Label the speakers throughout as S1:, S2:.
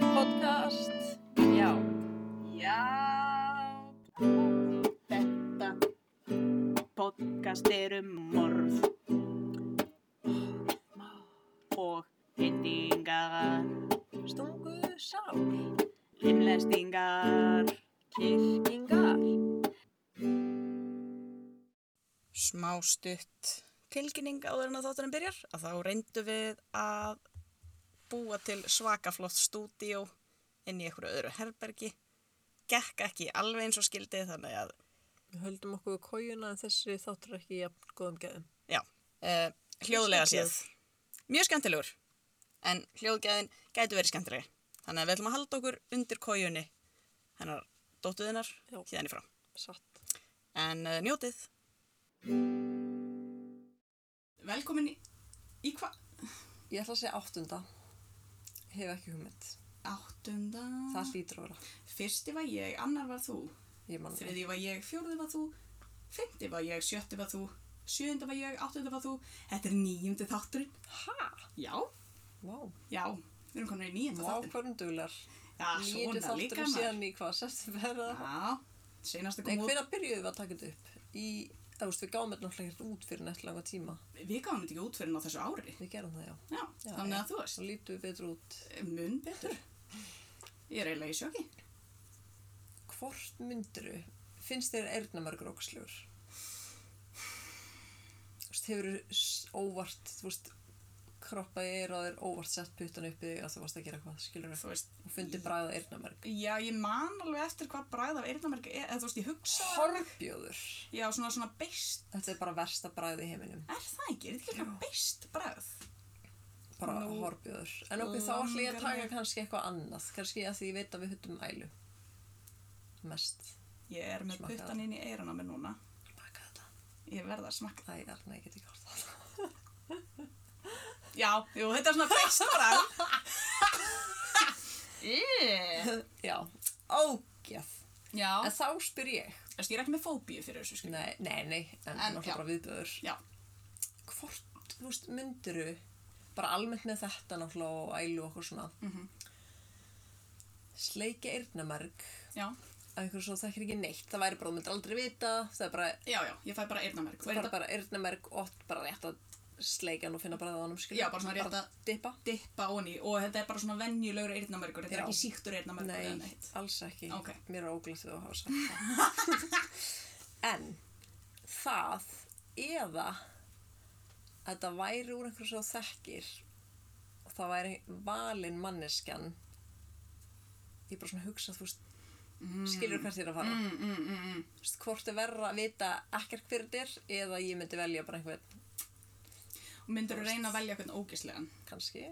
S1: podcast
S2: Já,
S1: Já Þetta podcast er um morð og hendingar
S2: stungu sá,
S1: limlestingar
S2: kyrkingar.
S1: smá stutt tilkynning áður en að þátturinn byrjar að þá reyndu við að búa til svakaflott stúdíó inn í einhverju öðru herbergi gekk ekki alveg eins og skildi þannig að
S2: Við höldum okkur við kójuna en þessi þáttur ekki jafn góðum geðum.
S1: já, uh, hljóðlega séð mjög skemmtilegur en hljóðgæðin gætu verið skemmtilegri þannig að við ætlum að halda okkur undir kójunni hennar dóttuðinnar
S2: Já.
S1: hérna í frá
S2: Satt.
S1: en uh, njótið Velkomin í, í hvað?
S2: Ég ætla að segja áttunda. Hef ekki hugmynd.
S1: Áttunda
S2: Það hlýtur að vera.
S1: Fyrsti var ég, annar var þú,
S2: Ég man það.
S1: þriði var ég, fjórði var þú, fymti var ég, sjötti var þú, sjöunda var ég, áttunda var þú. Þetta er nýjundi þátturinn.
S2: Hæ?
S1: Já,
S2: Vá. Ah,
S1: já, við erum konar í
S2: Vá,
S1: nýjunda þátturinn.
S2: hverjum duglar.
S1: Já,
S2: Nýju
S1: svona líka
S2: þáttur
S1: maður.
S2: síðan í hvað, september eða?
S1: Já, senast að
S2: Nei,
S1: koma út.
S2: hvenær byrjuðum við að taka þetta upp? Í, þú veist, við gáum þetta náttúrulega ekkert út fyrir nætt langa tíma.
S1: Við gáum þetta ekki út fyrir á þessu ári.
S2: Við gerum það, já.
S1: Já,
S2: Já,
S1: þannig
S2: já.
S1: að þú veist,
S2: Svo lítum við betur út.
S1: mun betur. Ég er eiginlega í sjóki.
S2: Hvort mynduru finnst þér erðnamörgur ókslegur? Þú veist, hefur óvart, þú veist, kroppa í eira og þér óvart sett puttan upp í þig að þú varst að gera hvað, skilur þú?
S1: Þú veist,
S2: Og fundi bræða erðnamörg.
S1: já, ég man alveg eftir hvað bræð af eyrnamerki er, eða þú veist, ég hugsa
S2: Horfbjóður.
S1: Já, svona, svona beist,
S2: Þetta er bara versta bræði í heiminum.
S1: er það ekki? Er þetta ekki svona beist bræð?
S2: Bara
S1: Nú
S2: horfbjóður. En okkur þá ætlum ég að
S1: langar
S2: taka
S1: mig-
S2: kannski eitthvað annað. Kannski að því ég veit að við huttum ælu. Mest.
S1: Ég er með
S2: Smakka
S1: puttan
S2: það.
S1: inn í eyrana mér núna.
S2: Baka þetta.
S1: Ég verða að smakka.
S2: Æ, alveg, ég get ekki hort það.
S1: Já, jú, þetta er svona beist bræð. Í.
S2: Já. Ógjaf.
S1: Já.
S2: En þá spyr ég.
S1: Þessi, ég er ekki með fóbíu fyrir þessu, sko.
S2: Nei, nei, nei, en, en
S1: En, já.
S2: náttúrulega bara viðbjöður.
S1: Já.
S2: Hvort, þú veist, myndiru, bara almennt með þetta náttúrulega og ælu og okkur svona,
S1: Mm
S2: sleikja eyrnamerg
S1: Já.
S2: að einhverju svo þekkir ekki neitt. Það væri bara, þú myndir aldrei vita, það er bara,
S1: Já, já, ég fæ bara eyrnamerk.
S2: það er bara eyrnamerg og bara rétt að sleika hann og finna bara það ánum, skilja.
S1: Já, bara svona rétt að-
S2: Dippa.
S1: dippa onni og þetta er bara svona venjulegur eyrnamerkur, þetta er
S2: Já.
S1: ekki síktur eyrnamerkur eða
S2: Nei,
S1: neitt.
S2: alls ekki.
S1: Ok.
S2: Mér er óglætt við að hafa sagt það. en það eða að þetta væri úr einhverju svo þekkir og það væri valin manneskjan ég er bara svona að hugsa þú veist,
S1: Mm.
S2: skilur hvert þér að fara
S1: Mm, mm, mm, mm.
S2: Þú veist, hvort er verra að vita ekkert hver þetta er eða ég myndi velja bara einhvern
S1: Og myndur þú reyna að velja hvernig ógislegan?
S2: kannski,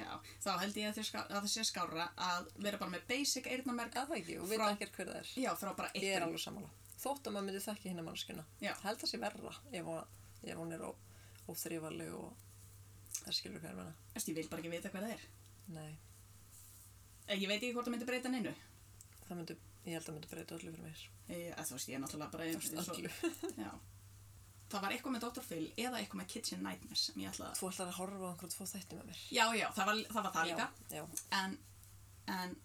S1: Já, þá held ég að, þér ská- að það sé skára að vera bara með basic eyrnamerk
S2: eða það ekki og vita
S1: Frá-
S2: ekkert hver það er
S1: Já, frá bara
S2: ég er
S1: eitt.
S2: alveg sammála þótt að maður myndi þekki hérna mannskjuna
S1: Já.
S2: held það sé verra ef, hún- ef hún er ó- óþrifalleg og það skilur hver menna
S1: Ég vil bara ekki vita hvað það er.
S2: nei,
S1: Eh, Ég veit ekki hvort það myndi breyta neinu.
S2: það myndi, ég held að myndi breyta öllu fyrir mér
S1: Eh, að Þú veist, ég er náttúrulega bara eins eins og...
S2: öllu,
S1: Já. Það var eitthvað með Dr. Phil eða eitthvað með Kitchen Nightmares sem ég ætlaði að...
S2: þú ætlar að horfa á einhverjum tvo þætti með mér
S1: Já, já, það var það, var það líka.
S2: já, já.
S1: En, en,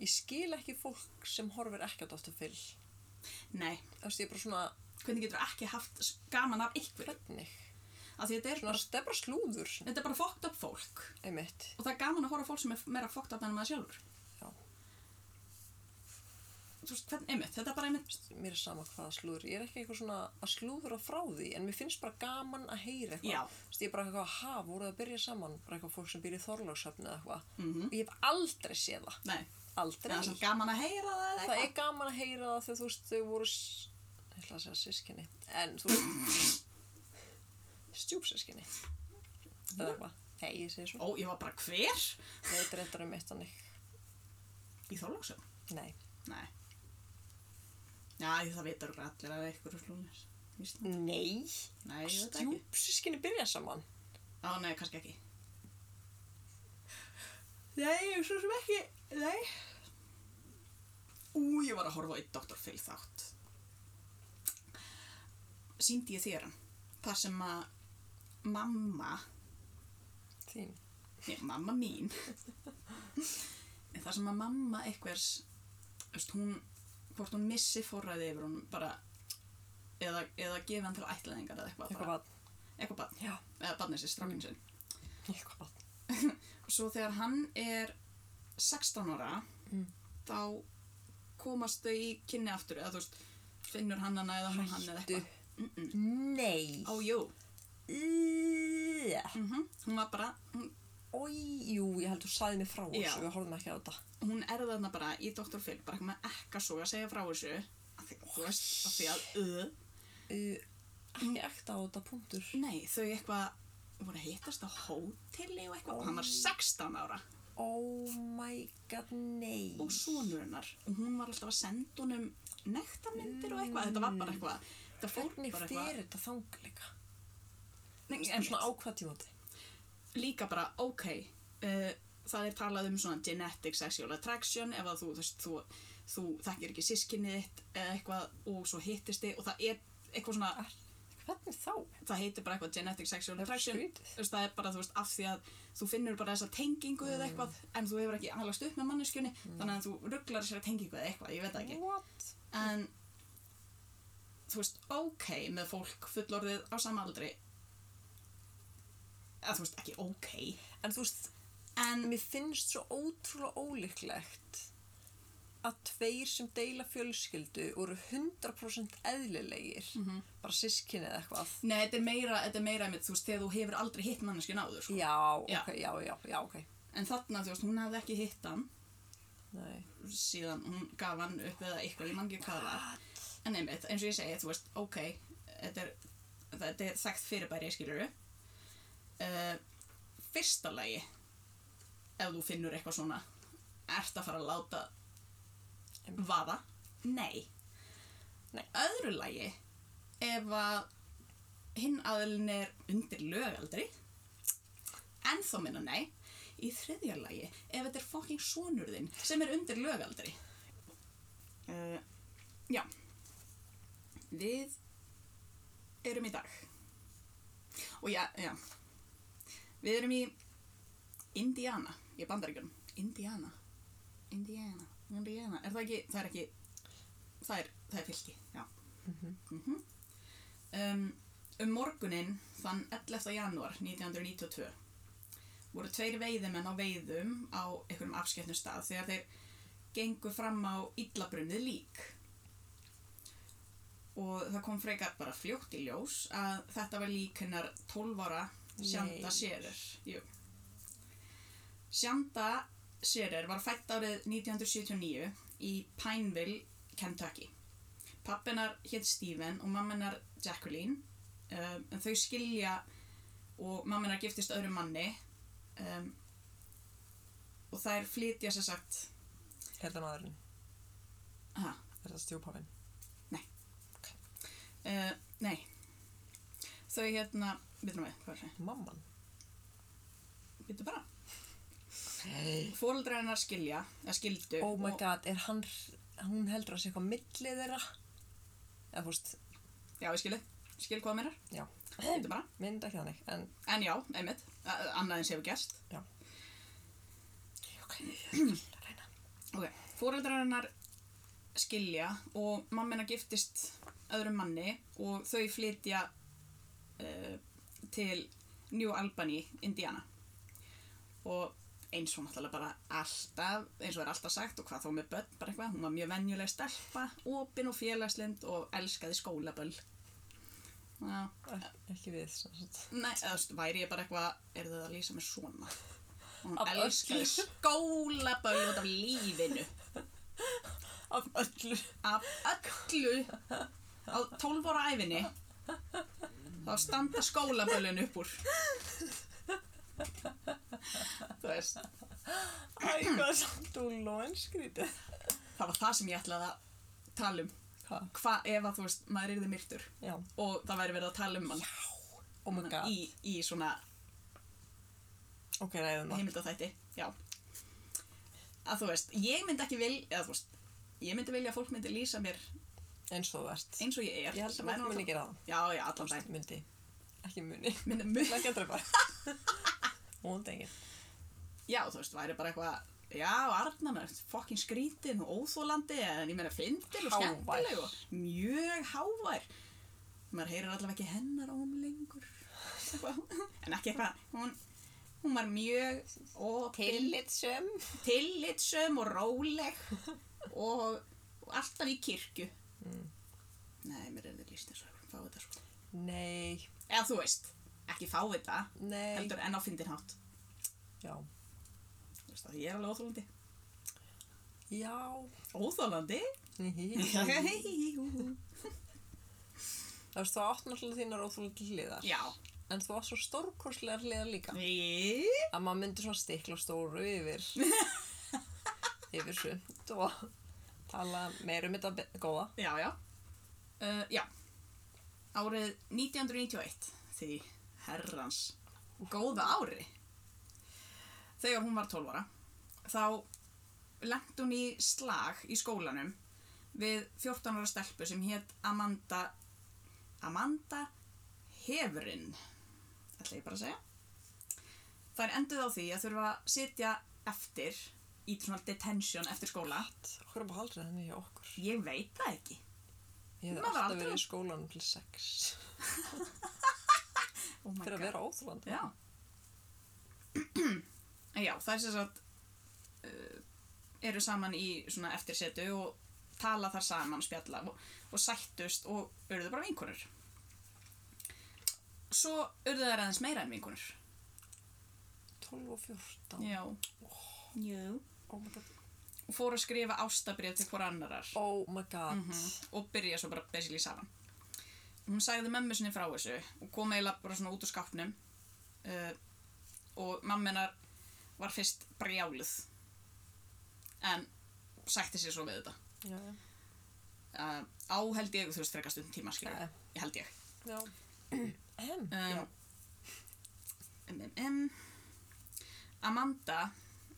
S2: ég skil ekki fólk sem horfir ekki á Dr. Phil þú
S1: nei,
S2: veist, ég er bara svona,
S1: hvernig getur ekki haft s- gaman af ykkur?
S2: hvernig
S1: Af því þetta er
S2: svona,
S1: bara,
S2: það er bara slúður
S1: þetta er bara fokkt upp fólk.
S2: einmitt,
S1: Og það er gaman að horfa á fólk sem er meira fokkt upp en maður sjálfur.
S2: já,
S1: Þú veist, hvernig, einmitt, þetta er bara einmitt...
S2: mér er sama hvaða slúður ég er ekki eitthvað svona að slúður á frá því en mér finnst bara gaman að heyra eitthvað
S1: Já.
S2: Þú veist, ég er bara eitthvað að hafa, voru það að byrja saman bara eitthvað fólk sem byrja í Þorlákshöfni eða eitthvað
S1: Mhm.
S2: og ég hef aldrei séð það
S1: Nei,
S2: aldrei,
S1: það er svona gaman að heyra það eða
S2: það
S1: eitthvað.
S2: er gaman að heyra það þegar þú veist þau voru s- ég ætla að segja sískinni en þú veist stjúpsískinni eða eitthvað, hei ég segi svo
S1: Ó, ég var bara hver?
S2: veit reyndar um eitt þannig
S1: Í Þorlóksum?
S2: nei,
S1: Nei. Já, ég- það veitur allir að eitthvað er slúnir.
S2: nei,
S1: Nei, ég veit það ekki.
S2: stjúpsískinni byrja saman
S1: Á, nei, kannski ekki. Nei, svo sem ekki, nei. Ú, ég var að horfa á eitt Dr. Phil þátt. Sýndi ég þér hann. Það sem að mamma,
S2: þín,
S1: nei, mamma mín, það sem að mamma einhvers þú veist, hún, hvort hún missi forræði yfir hún bara eða, eða gefi hann til ætlaðingar eða eitthvað
S2: Eitthvað
S1: bara-
S2: vatn.
S1: eitthvað barn,
S2: Já.
S1: eða barnið sér strákinn sinn
S2: Eitthvað vatn.
S1: og svo þegar hann er 16 ára
S2: Mm.
S1: þá komast þau í kynni aftur eða þú veist, finnur hann hana eða hún hann eða
S2: Hættu.
S1: eitthvað mm -mm.
S2: Nei.
S1: Ó, jú,
S2: Í-
S1: mm hún var bara, hún,
S2: Oj, jú, ég held þú sagði mér frá
S1: Já.
S2: þessu, við horfum ekki á þetta.
S1: hún er þarna bara í Dr. Phil, bara eitthvað með ekka svo að segja frá þessu, að því, þú veist, að því að, uh,
S2: Uh, ekki ekta á þetta punktur.
S1: Nei, þau eitthvað voru að hittast á hóteli og eitthvað og hann var 16 ára
S2: Oh my god, nei.
S1: og sonur hennar og hún var alltaf að senda honum nektarmyndir og eitthvað, þetta var bara eitthvað þetta fór
S2: Mm. Hvernig
S1: bara
S2: fyrir
S1: eitthvað
S2: þetta þangur líka?
S1: Nei,
S2: En svona
S1: einmitt.
S2: ákvað tímóti.
S1: líka bara, ok uh, það er talað um svona genetic sexual attraction ef að þú, þú, veist, þú, þú þekkir ekki sískinni þitt eða eitthvað og svo hittist þið og það er eitthvað svona
S2: Hvernig þá?
S1: það heitir bara eitthvað genetic sexual
S2: Það er
S1: attraction
S2: skrítið.
S1: Þú veist, það er bara þú veist af því að þú finnur bara þessa tengingu eða eitthvað en þú hefur ekki aðlagst upp með manneskjunni þannig að þú rugglar þessari tengingu eða eitthvað, ég veit það ekki
S2: What?
S1: en þú veist, ok með fólk fullorðið á sama aldri eða þú veist, ekki ok
S2: En þú veist,
S1: en
S2: mér finnst svo ótrúlega ólíklegt að tveir sem deila fjölskyldu voru 100% eðlilegir
S1: Mhm.
S2: bara sískinni eða eitthvað
S1: Nei, þetta er meira, þetta er meira einmitt, þú veist, þegar þú hefur aldrei hitt manneskjun áður sko.
S2: já,
S1: Já.
S2: ok, já, já, já, ok
S1: en þarna, þú veist, hún hafði ekki hitt hann
S2: Nei.
S1: síðan hún gaf hann upp eða eitthvað, ég man ekki hvað það var en einmitt, eins og ég segi, þú veist, ok þetta er, þetta er þekkt fyrirbæri skilur uh, fyrsta lagi ef þú finnur eitthvað svona ert að fara að láta
S2: Einmitt.
S1: vaða? Nei.
S2: Nei.
S1: öðru lagi ef að hinn aðlun er undir lögaldri en þá minna nei í þriðja lagi ef þetta er fucking sonur þinn sem er undir lögaldri uh,
S2: Eh,
S1: já við erum í dag og já, já við erum í Indiana, ég bandar ekki um Indiana Indiana, Indiana, er það ekki það er ekki, það er, það er fylki já mm um, um morgunin þann 11. janúar 1992 voru tveir veiðimenn á veiðum á einhverjum afskettnum stað þegar þeir gengu fram á illabrunnið lík og það kom frekar bara fljótt í ljós að þetta var lík hennar 12 ára Sjanda
S2: Nei.
S1: Sérer Jú. Sjanda Sérer var fætt árið 1979 í Pineville, Kentucky pappinar hétt Steven og mamminar Jacqueline um, en þau skilja og mamminar giftist öðrum manni um, og þær flytja sér sagt
S2: er þetta Hérna maðurinn,
S1: ha,
S2: er þetta stjúpafinn
S1: uh, nei þau hérna, byrjum við, hvað er það?
S2: mamman
S1: Byrjum bara,
S2: hey.
S1: fóreldra hennar skilja eða skildu
S2: oh my
S1: og-
S2: god, er hann hún heldur að sé eitthvað milli þeirra eða þú veist,
S1: já, ég skilu, skil hvað mér er
S2: já
S1: byrjum bara,
S2: mynd ekki þannig, en
S1: en já, einmitt a- annað eins hefur gerst
S2: já ok, ég skal reyna
S1: Ok, fóreldrar hennar skilja og mamma hennar giftist öðrum manni og þau flytja uh, til New Albany, Indiana. Og eins og náttúrulega bara alltaf, eins og er alltaf sagt og hvað þá með börn, bara eitthvað, hún var mjög venjuleg stelpa, opin og félagslind og elskaði skólaböll. Já,
S2: Ek- ekki við sem sagt.
S1: nei, eða þú veist, væri ég bara eitthvað, er það að lýsa með svona? Og
S2: Af
S1: Hún elskaði
S2: öllu.
S1: skólaböll út af lífinu.
S2: af öllu
S1: af öllu á 12 ára æfinni þá standa skólaböllin upp úr þú veist
S2: Æ, hvað samt úr lónskrítið
S1: það var það sem ég ætlaði að tala um
S2: Hvað?
S1: hvað ef að þú veist maður yrði myrtur
S2: Já,
S1: og það væri verið að tala um hann
S2: oh my god
S1: í, í svona
S2: Ok, reyðum það
S1: heimildathætti já að þú veist, ég myndi ekki vilja eða þú veist, ég myndi vilja að fólk myndi lýsa mér
S2: Eins og þú ert
S1: eins og ég er
S2: Ég held
S1: sem
S2: að
S1: er
S2: maður muni
S1: náttúrulega-
S2: gera það
S1: já, já, allan
S2: Tókst
S1: daginn
S2: myndi Ekki muni
S1: Myndi-
S2: Ekki að drepa Hún dengir
S1: já, þú veist, væri bara eitthvað já, Arnar er fokkin skrítin og óþólandi en ég meina fyndil og
S2: Hávær.
S1: skemmtileg og mjög hávær maður heyrir allavega ekki hennar óm lengur en ekki eitthvað hún, hún var mjög opin,
S2: Tillitsum.
S1: tillitsöm og róleg og, og alltaf í kirkju
S2: Mm.
S1: nei, mér er þetta líst þess að fá þetta sko
S2: Nei,
S1: eða þú veist, ekki fá þetta
S2: nei.
S1: heldur enn á fyndin hátt
S2: Já.
S1: Þú veist að ég er alveg óþólandi
S2: Já.
S1: Óþólandi? 哎
S2: Það veist, þú átt náttúrulega þínar óþúlega hliðar.
S1: Já
S2: En þú átt svo stórkostlegar hliðar líka.
S1: Í?
S2: Að maður myndi svona stikla á stóru yfir, yfir sumt og tala meir um þetta be- góða.
S1: Já, já uh, Já Árið 1991 Því herrans góða ári Þegar hún var 12 ára Þá lent hún í slag í skólanum Við 14 ára stelpu sem hétt Amanda Amanda Hefrin ætla ég bara að segja Þær enduð á því að þurfa að sitja eftir í svona detention eftir skóla
S2: Okkur er bara aldrei þannig hjá okkur.
S1: Ég veit það ekki
S2: Ég hef
S1: Maður
S2: alltaf
S1: aldrei-
S2: verið í skólanum til sex.
S1: oh my
S2: Fyrir að
S1: god.
S2: vera óþúlandi.
S1: Já. En já, það er sem sagt uh, eru saman í svona eftirsetu og tala þar saman, spjalla og, og sættust og urðu bara vinkonur. Svo urðu þær aðeins meira en vinkonur.
S2: 12 og 14.
S1: Já. Jú.
S2: Oh my god.
S1: Og fóru að skrifa ástabrið til hvora annarar
S2: Oh my god.
S1: og byrja svo bara basically saman. Hún sagði mömmu sinni frá þessu og kom eiginlega bara svona út úr skápnum uh, og mamminar var fyrst brjáluð en sætti sér svo við þetta.
S2: Já, já.
S1: Uh, á held ég, þú veist, frekar stund tíma skilur,
S2: Ja.
S1: ég held ég.
S2: Já. Ahem.
S1: Um,
S2: Já.
S1: um, um, um, Amanda,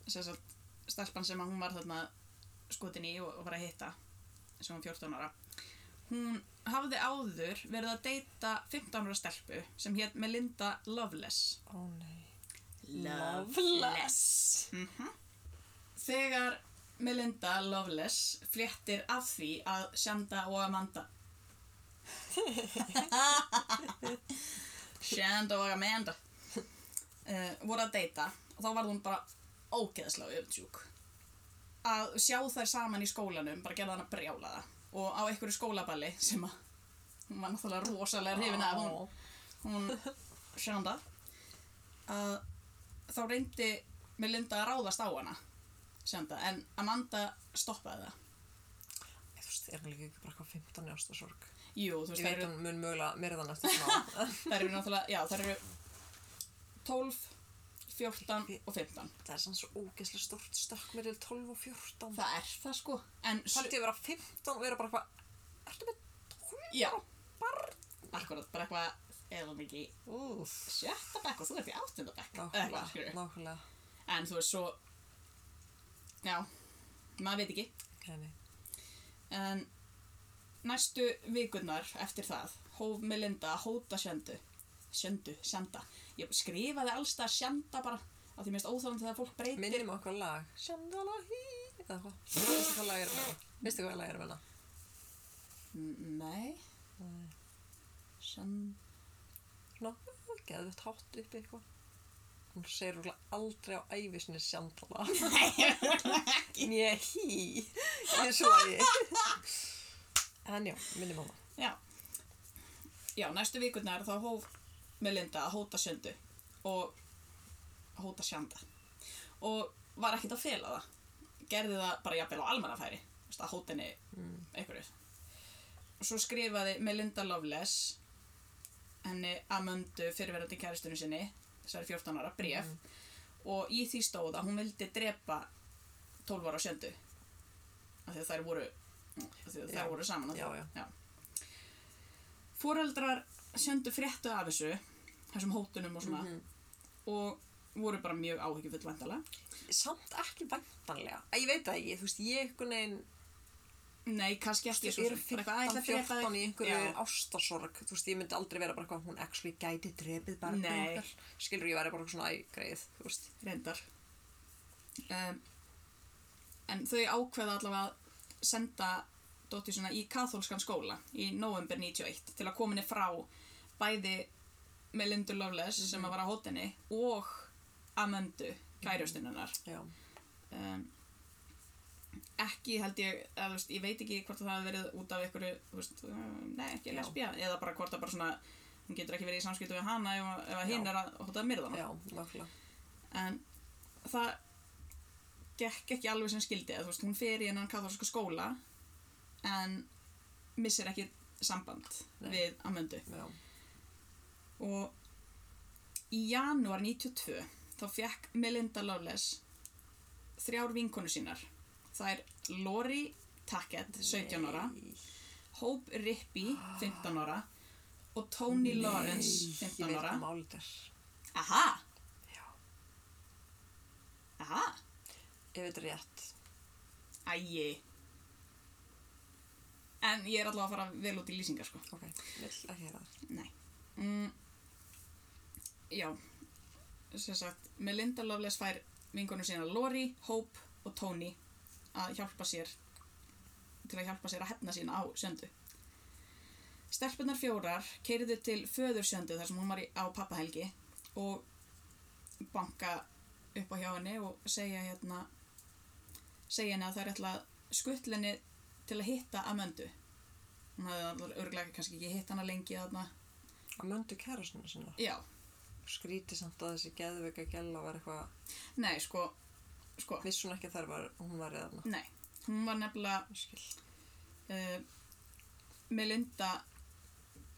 S1: sem sagt, stelpan sem að hún var þarna skotin í og, og var að hitta, sem hún 14 ára, hún hafði áður verið að deyta 15 ára stelpu sem hétt Melinda Loveless.
S2: Ó nei.
S1: Loveless. Þegar Melinda Loveless fléttir af því að Shanda og Amanda Shanda og Amanda uh, voru að deyta og þá varð hún bara ógeðslega öfntjúk að sjá þær saman í skólanum bara gerða hann að brjála það og á einhverju skólaballi sem að hún var náttúrulega rosalega hrifin af hún hún sjönda að þá reyndi Melinda að ráðast á hana sjönda en Amanda stoppaði það
S2: Ég þú veist, er hún líka ekki bara eitthvað 15 í ástasorg?
S1: jú þú
S2: Ég
S1: veist þær
S2: veit
S1: eru,
S2: hann mun mögulega meira þann eftir smá.
S1: þær eru náttúrulega já þær eru 12 14 og 15
S2: það er sann svo ógeðslega stort stökk mér til 12 og 14.
S1: það er það sko en
S2: Það held ég að vera 15 og vera bara eitthvað, ertu með 12
S1: já
S2: barn?
S1: akkurat bara eitthvað eða mikið
S2: Úf.
S1: sjötta bekk og þú ert í áttunda bekk eða eitthvað
S2: Nákvæmlega,
S1: skilurðu.
S2: nákvæmlega.
S1: en þú veist svo já maður veit ekki
S2: Nei, nei.
S1: En næstu vikurnar eftir það hóf Melinda að hóta sjöndu. Sjöndu, sjanda. Ég skrifaði allstað sjanda bara á því mest óþálandi þegar fólk breytir.
S2: Minnum á eitthvað lag. Shandala hí. Eða hvað? Veistu hvað lag er með hana? Veistu hvað lag er með hana?
S1: N- Nei. Sjand...
S2: Ná, geðvett hátt upp eitthvað. Hún segir rúglega aldrei á ævisinni shandala. Nei, ekki. Né hí. Ég svo að ég. En já, minnum á hana.
S1: Já. Já, næstu vikurnar þá hóf Melinda að hóta sjöndu og að hóta sjanda. Og var ekkert að fela það. Gerði það bara jafnvel á almannafæri. Þú veist, Að hóta henni einhverju. Og svo skrifaði Melinda Loveless henni Amundu fyrirverandi kæristunum sinni þessari 14 ára bref og í því stóð að hún vildi drepa 12 ára sjöndu af því að þær voru af því að
S2: Já.
S1: þær voru saman á
S2: Já, já.
S1: Já. Fóreldrar sendu fréttu af þessu, þessum hótunum og svona,
S2: Mhm.
S1: og voru bara mjög áhyggjufull vandalega.
S2: samt ekki væntanlega Æ, ég veit það ekki, þú veist, ég einhvern veginn
S1: Nei, kannski ekki
S2: ég er
S1: Bara eitthvað, æ, ætla að drepa þig.
S2: 15-14 í einhverju
S1: Já.
S2: ástasorg þú veist, ég myndi aldrei vera bara eitthvað hún actually gæti drefið bara
S1: Nei.
S2: skilur ég væri bara svona æ, greið, þú veist
S1: reyndar um, en þau ákveða allavega að senda dóttir sína í katholskan skóla í november 91 til að koma henni frá bæði Melindu Loveless
S2: Mhm.
S1: sem að var á hótinni og Amandu kærjóstinunnar
S2: Já.
S1: um, ekki held ég að, veist, ég veit ekki hvort að það hafi verið út af einhverju þú veist, um, nei ekki
S2: Já.
S1: lesbía eða bara hvort að bara svona hún getur ekki verið í samskiptu við hana ef, ef að hinn
S2: Já.
S1: er að hóta að myrða hana
S2: Já, nákvæmlega.
S1: en það gekk ekki alveg sem skildi eða, þú veist, hún fer í hennan katholsku skóla en missir ekki samband
S2: Nei.
S1: við Amöndu
S2: Já.
S1: og í janúar 92 þá fekk Melinda Loveless þrjár vinkonu sínar það er Lori Tackett 17 ára,
S2: Nei.
S1: Hope Rippey 15 ára og Tony Lawrence
S2: Ég
S1: 15
S2: veit
S1: ára
S2: um álítar.
S1: aha,
S2: Já.
S1: aha,
S2: Ég veit rétt.
S1: ægi en ég er allavega að fara vel út í lýsingar sko
S2: Ok, vill ekki hérna.
S1: Nei. Mm, já, sem sagt, Melinda Loveless fær vingunum sína Lori, Hope og Tony að hjálpa sér til að hjálpa sér að hefna sína á söndu. Stelpunar fjórar keiriðu til föður söndu þar sem hún var í, á pappahelgi og banka upp á hjá henni og segja hérna segja henni að það er ætla skuttlenni til að hitta Amandu. Hún hafði örglega kannski ekki hitt hana lengi þarna
S2: Að möndu kærastunum sinna.
S1: Já,
S2: Skríti samt að þessi geðveika gæla var eitthvað,
S1: nei, sko, sko,
S2: vissi hún ekki að þar var, hún var í þarna.
S1: nei, hún var nefnilega,
S2: Ég Skil.
S1: uh, Melinda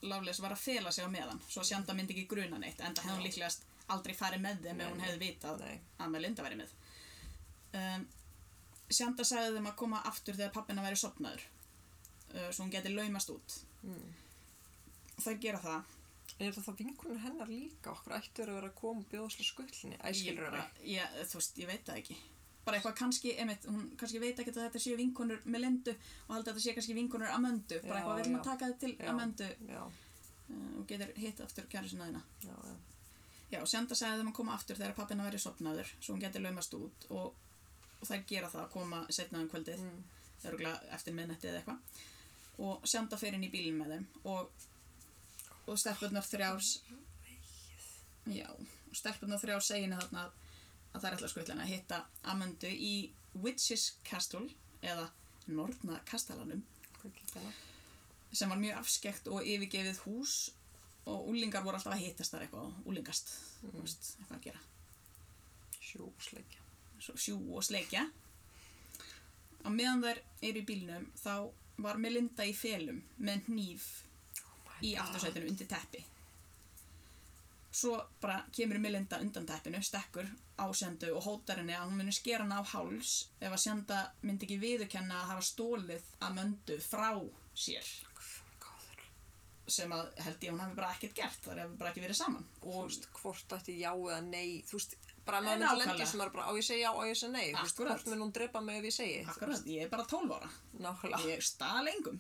S1: Loveless var að fela sig á meðan, svo að Sjanda myndi ekki gruna neitt, enda hefði hún
S2: Já.
S1: líklegast aldrei farið með þeim
S2: Nei,
S1: ef hún
S2: nei.
S1: hefði vitað
S2: Nei.
S1: að Melinda væri með. Um, Sjanda sagði þeim að koma aftur þegar pappina væri sopnaður, uh, svo hún geti laumast út.
S2: Mm.
S1: Þær gera það.
S2: En er það það vinkunum hennar líka okkur ættu verið að vera að koma og bjóða bjóðslega skullni? Æskilur
S1: Ég
S2: það
S1: bara-
S2: ekki.
S1: ég, þú veist, ég veit það ekki bara eitthvað kannski, einmitt, hún kannski veit ekki að þetta séu vinkonur með lendu og haldi að þetta séu kannski vinkonur að möndu
S2: Já,
S1: bara eitthvað viljum að
S2: já.
S1: taka þetta til
S2: Já.
S1: að möndu
S2: Já,
S1: og getur hitt aftur kæra sinna þína
S2: já, já.
S1: já, Sjanda sagði þeim að koma aftur þegar pappina væri sopnaður svo hún getur laumast út og, og þær gera það að koma setna um kvöldið
S2: Mm.
S1: örgulega eftir miðnætti eða eitthvað og Sjanda fer inn í bílinn með þeim og, og stelpunnar þrjár já, og stelpunnar þrjár seginu þarna að, að það er alltaf skutlana að hitta Amandu í Witches Castle eða Norna Kastalanum
S2: Hvað getur það?
S1: sem var mjög afskekt og yfirgefið hús og úlingar voru alltaf að hittast þar eitthvað og úlingast, þú veist, eitthvað að gera
S2: Sjósleikja.
S1: svo sjú og sleikja á meðan þær eru í bílnum þá var Melinda í felum með hníf í aftursætinu undir teppi svo bara kemur Melinda undan teppinu, stekkur á sendu og hótar henni að hún muni skera hana á háls ef að senda myndi ekki viðurkenna að hafa stólið að möndu frá sér
S2: Góður.
S1: sem að held ég að hún hafi bara ekkert gert þar hefur bara ekki verið saman
S2: Þú
S1: og
S2: veist, hvort ætti já eða nei, þú veist, bara
S1: Nei,
S2: maður myndi
S1: nákvæmlega.
S2: lendi sem maður bara á ég segja já, á ég segja nei, þú veist,
S1: Akkúrat.
S2: hvort mun hún drepa mig ef ég segi, þú
S1: akkurat, ég er bara 12 ára
S2: veist, nákvæmlega,
S1: ég stal engum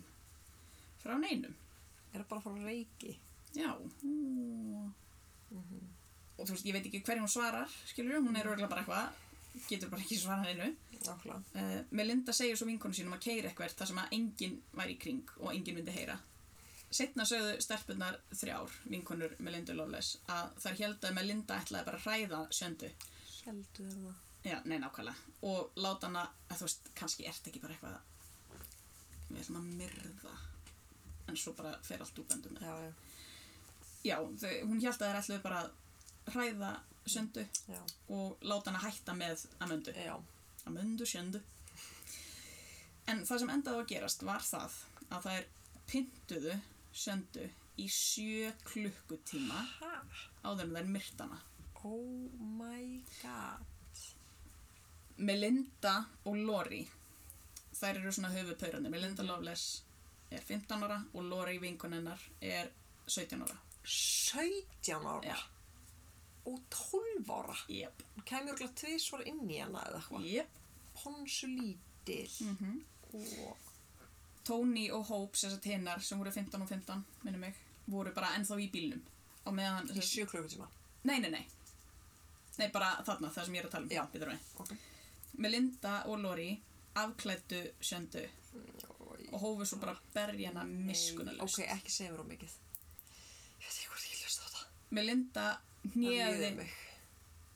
S1: frá neinum
S2: er það bara að fara að reiki,
S1: Já. Og þú veist, ég veit ekki hverju hún svarar, skilur hún er örgulega bara eitthvað, getur bara ekki svarað einu.
S2: nákvæmlega,
S1: Uh, Melinda segir svo vinkonu sínum að keira eitthvað þar sem að enginn var í kring og enginn myndi heyra. Setna sögðu stelpunar þrjár, vinkonur Melinda Lawless, að þær held að Melinda ætlaði bara að hræða sjöndu.
S2: heldur þér það,
S1: Já, nei, nákvæmlega. Og láta hana, að þú veist, kannski ert ekki bara eitthvað, við ætlum að myrða. En svo bara fer allt úr böndum
S2: já, já,
S1: já, þau, hún held að þær ætluðu bara að hræða söndu
S2: já,
S1: og láta hana hætta með Amöndu.
S2: já,
S1: Amöndu söndu. En það sem endaði á að gerast var það að þær pyntuðu söndu í sjö klukkutíma
S2: ha,
S1: áður en þær myrtana.
S2: oh my god,
S1: Melinda og Lori, þær eru svona höfupaurandi. Melinda Loveless er 15 ára og Lori vinkonennar er 17 ára.
S2: 17 ára,
S1: Já.
S2: og 12 ára,
S1: Jep,
S2: hún kemur okkur tvisvar inn í hana eða eitthvað,
S1: jep.
S2: ponsulítil,
S1: Mhm.
S2: og,
S1: Tony og Hope, þess að hinnar sem voru 15 og 15, minnum mig voru bara ennþá í bílnum á meðan,
S2: í sjö klukkutíma,
S1: nei, nei, nei nei, bara þarna, það sem ég er að tala um
S2: Já.
S1: býtur við.
S2: ok,
S1: Melinda og Lori afklættu sjöndu og hófu svo bara að berja hana miskunnalust.
S2: ok, ekki segja mér um mikið ég veit ekki hvort ég hlusta á þetta
S1: Melinda
S2: það líður
S1: hnjöði...
S2: mig,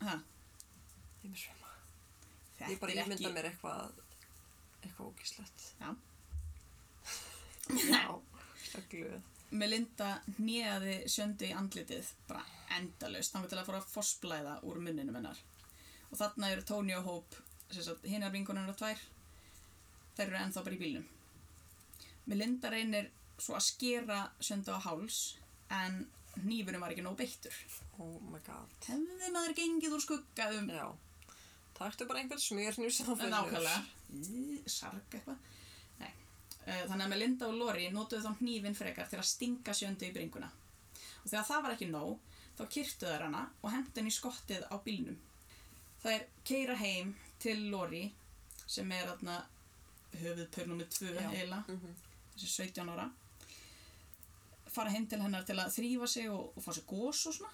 S1: Ha,
S2: ég mér svema
S1: þetta
S2: ég bara
S1: er
S2: ímynda
S1: ekki...
S2: mér eitthvað eitthvað ógíslegt
S1: Já.
S2: já, það glöð
S1: Melinda hnjöði sjöndu í andlitið bara endalaust. Hann var til að fóra að fossblæða úr munninum hennar. Og þarna eru Tony og Hope, sem sagt, hinar vingunarnar tvær. Þær eru ennþá bara í bílnum. Melinda reynir svo að skera sjöndu á háls en hnífurum var ekki nóg beittur.
S2: oh my god
S1: Hefði maður gengið úr skugga um
S2: já, taktu bara einhvern smérnjú sem það
S1: En nákvæmlega. Í, Sarg eitthvað. Nei. Eh, Þannig að Melinda og Lori notuðu þá hnífin frekar til að stinga sjöndu í bringuna. Og þegar það var ekki nóg, þá kyrtu þær hana og hendu henni í skottið á bílnum. Þær keira heim til Lori, sem er þarna höfuðpör nummið 2
S2: Já.
S1: eiginlega,
S2: Mhm.
S1: þessi 17 ára. Fara heim til hennar til að þrýfa sig og, og fá sig gós og svona,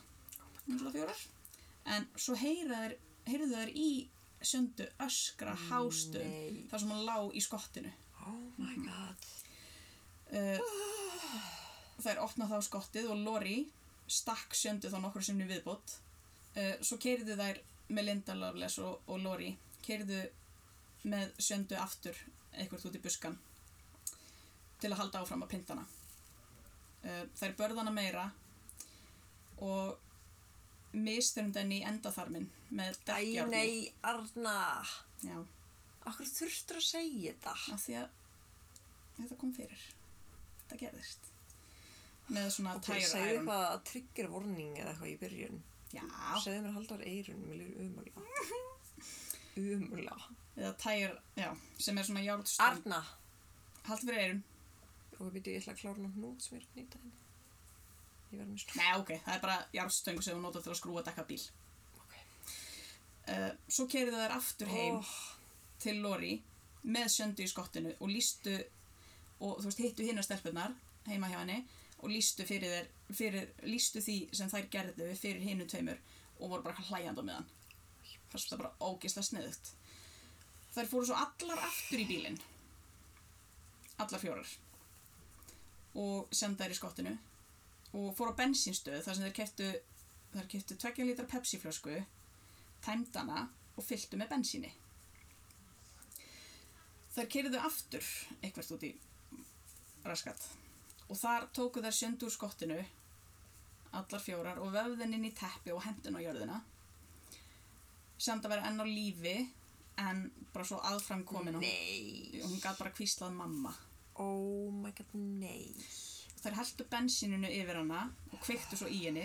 S1: um fjórar. En svo heyra þær- heyrðu þær í sjöndu öskra hástöðum
S2: nei,
S1: þar sem hann lá í skottinu.
S2: oh my god
S1: Uh, þær opna þá skottið og Lori stakk sjöndu þá nokkur sinni viðbót. Uh, svo keiriðu þær Melinda Loveless og, og Lori keiriðu með sjöndu aftur eitthvað út í buskan til að halda áfram að pynta hana. Uh, þær börðana meira og misþurnd henni í endaþarmin með
S2: Æ,
S1: dekkjarni.
S2: nei, Arna
S1: Já,
S2: Akkur þurftur að segja þetta
S1: af því að þetta kom fyrir þetta gerðist með svona
S2: Ok,
S1: okay, tire
S2: segðu
S1: iron
S2: eitthvað að trigger warning eða eitthvað í byrjun
S1: já,
S2: Segðu mér að halda á eirun, mér líður umulega Umulega
S1: eða tire, já, sem er svona járnstöng
S2: Arna
S1: haldi fyrir eirun,
S2: Og við byrjuðu, ég ætla að klára nú hnút sem ég er að nýta henni Ég verður mér
S1: nei ok, það er bara járnstöng sem þú notar til að skrúa dekka bíl
S2: slúk Ok
S1: uh, svo keiriðu þær aftur heim
S2: Oh.
S1: til Lori með sjöndu í skottinu og lístu og þú veist, hittu hinnar stelpunar heima hjá henni og lístu fyrir þeir, fyrir, lístu því sem þær gerðu fyrir hinu tveimur og voru bara hlæjandi á meðan fannst það bara ógislega sniðugt þær fóru svo allar aftur í bílinn allar fjórar og senda þær í skottinu og fóru á bensinstöð þar sem þær keftu þær keftu 2 litra pepsi flösku tæmdana og fylltu með bensíni Þær keiriðu aftur eitthvað út í raskat og þar tóku þær sjöndu úr skottinu allar fjórar og vöfðin inn í teppi og hendin á jörðina samt að vera enn á lífi en bara svo aðfram komin og hún-
S2: Nei
S1: hún gaf bara kvíslað mamma
S2: Oh my god, nei
S1: Þær heldu bensíninu yfir hana og kveiktu svo í henni.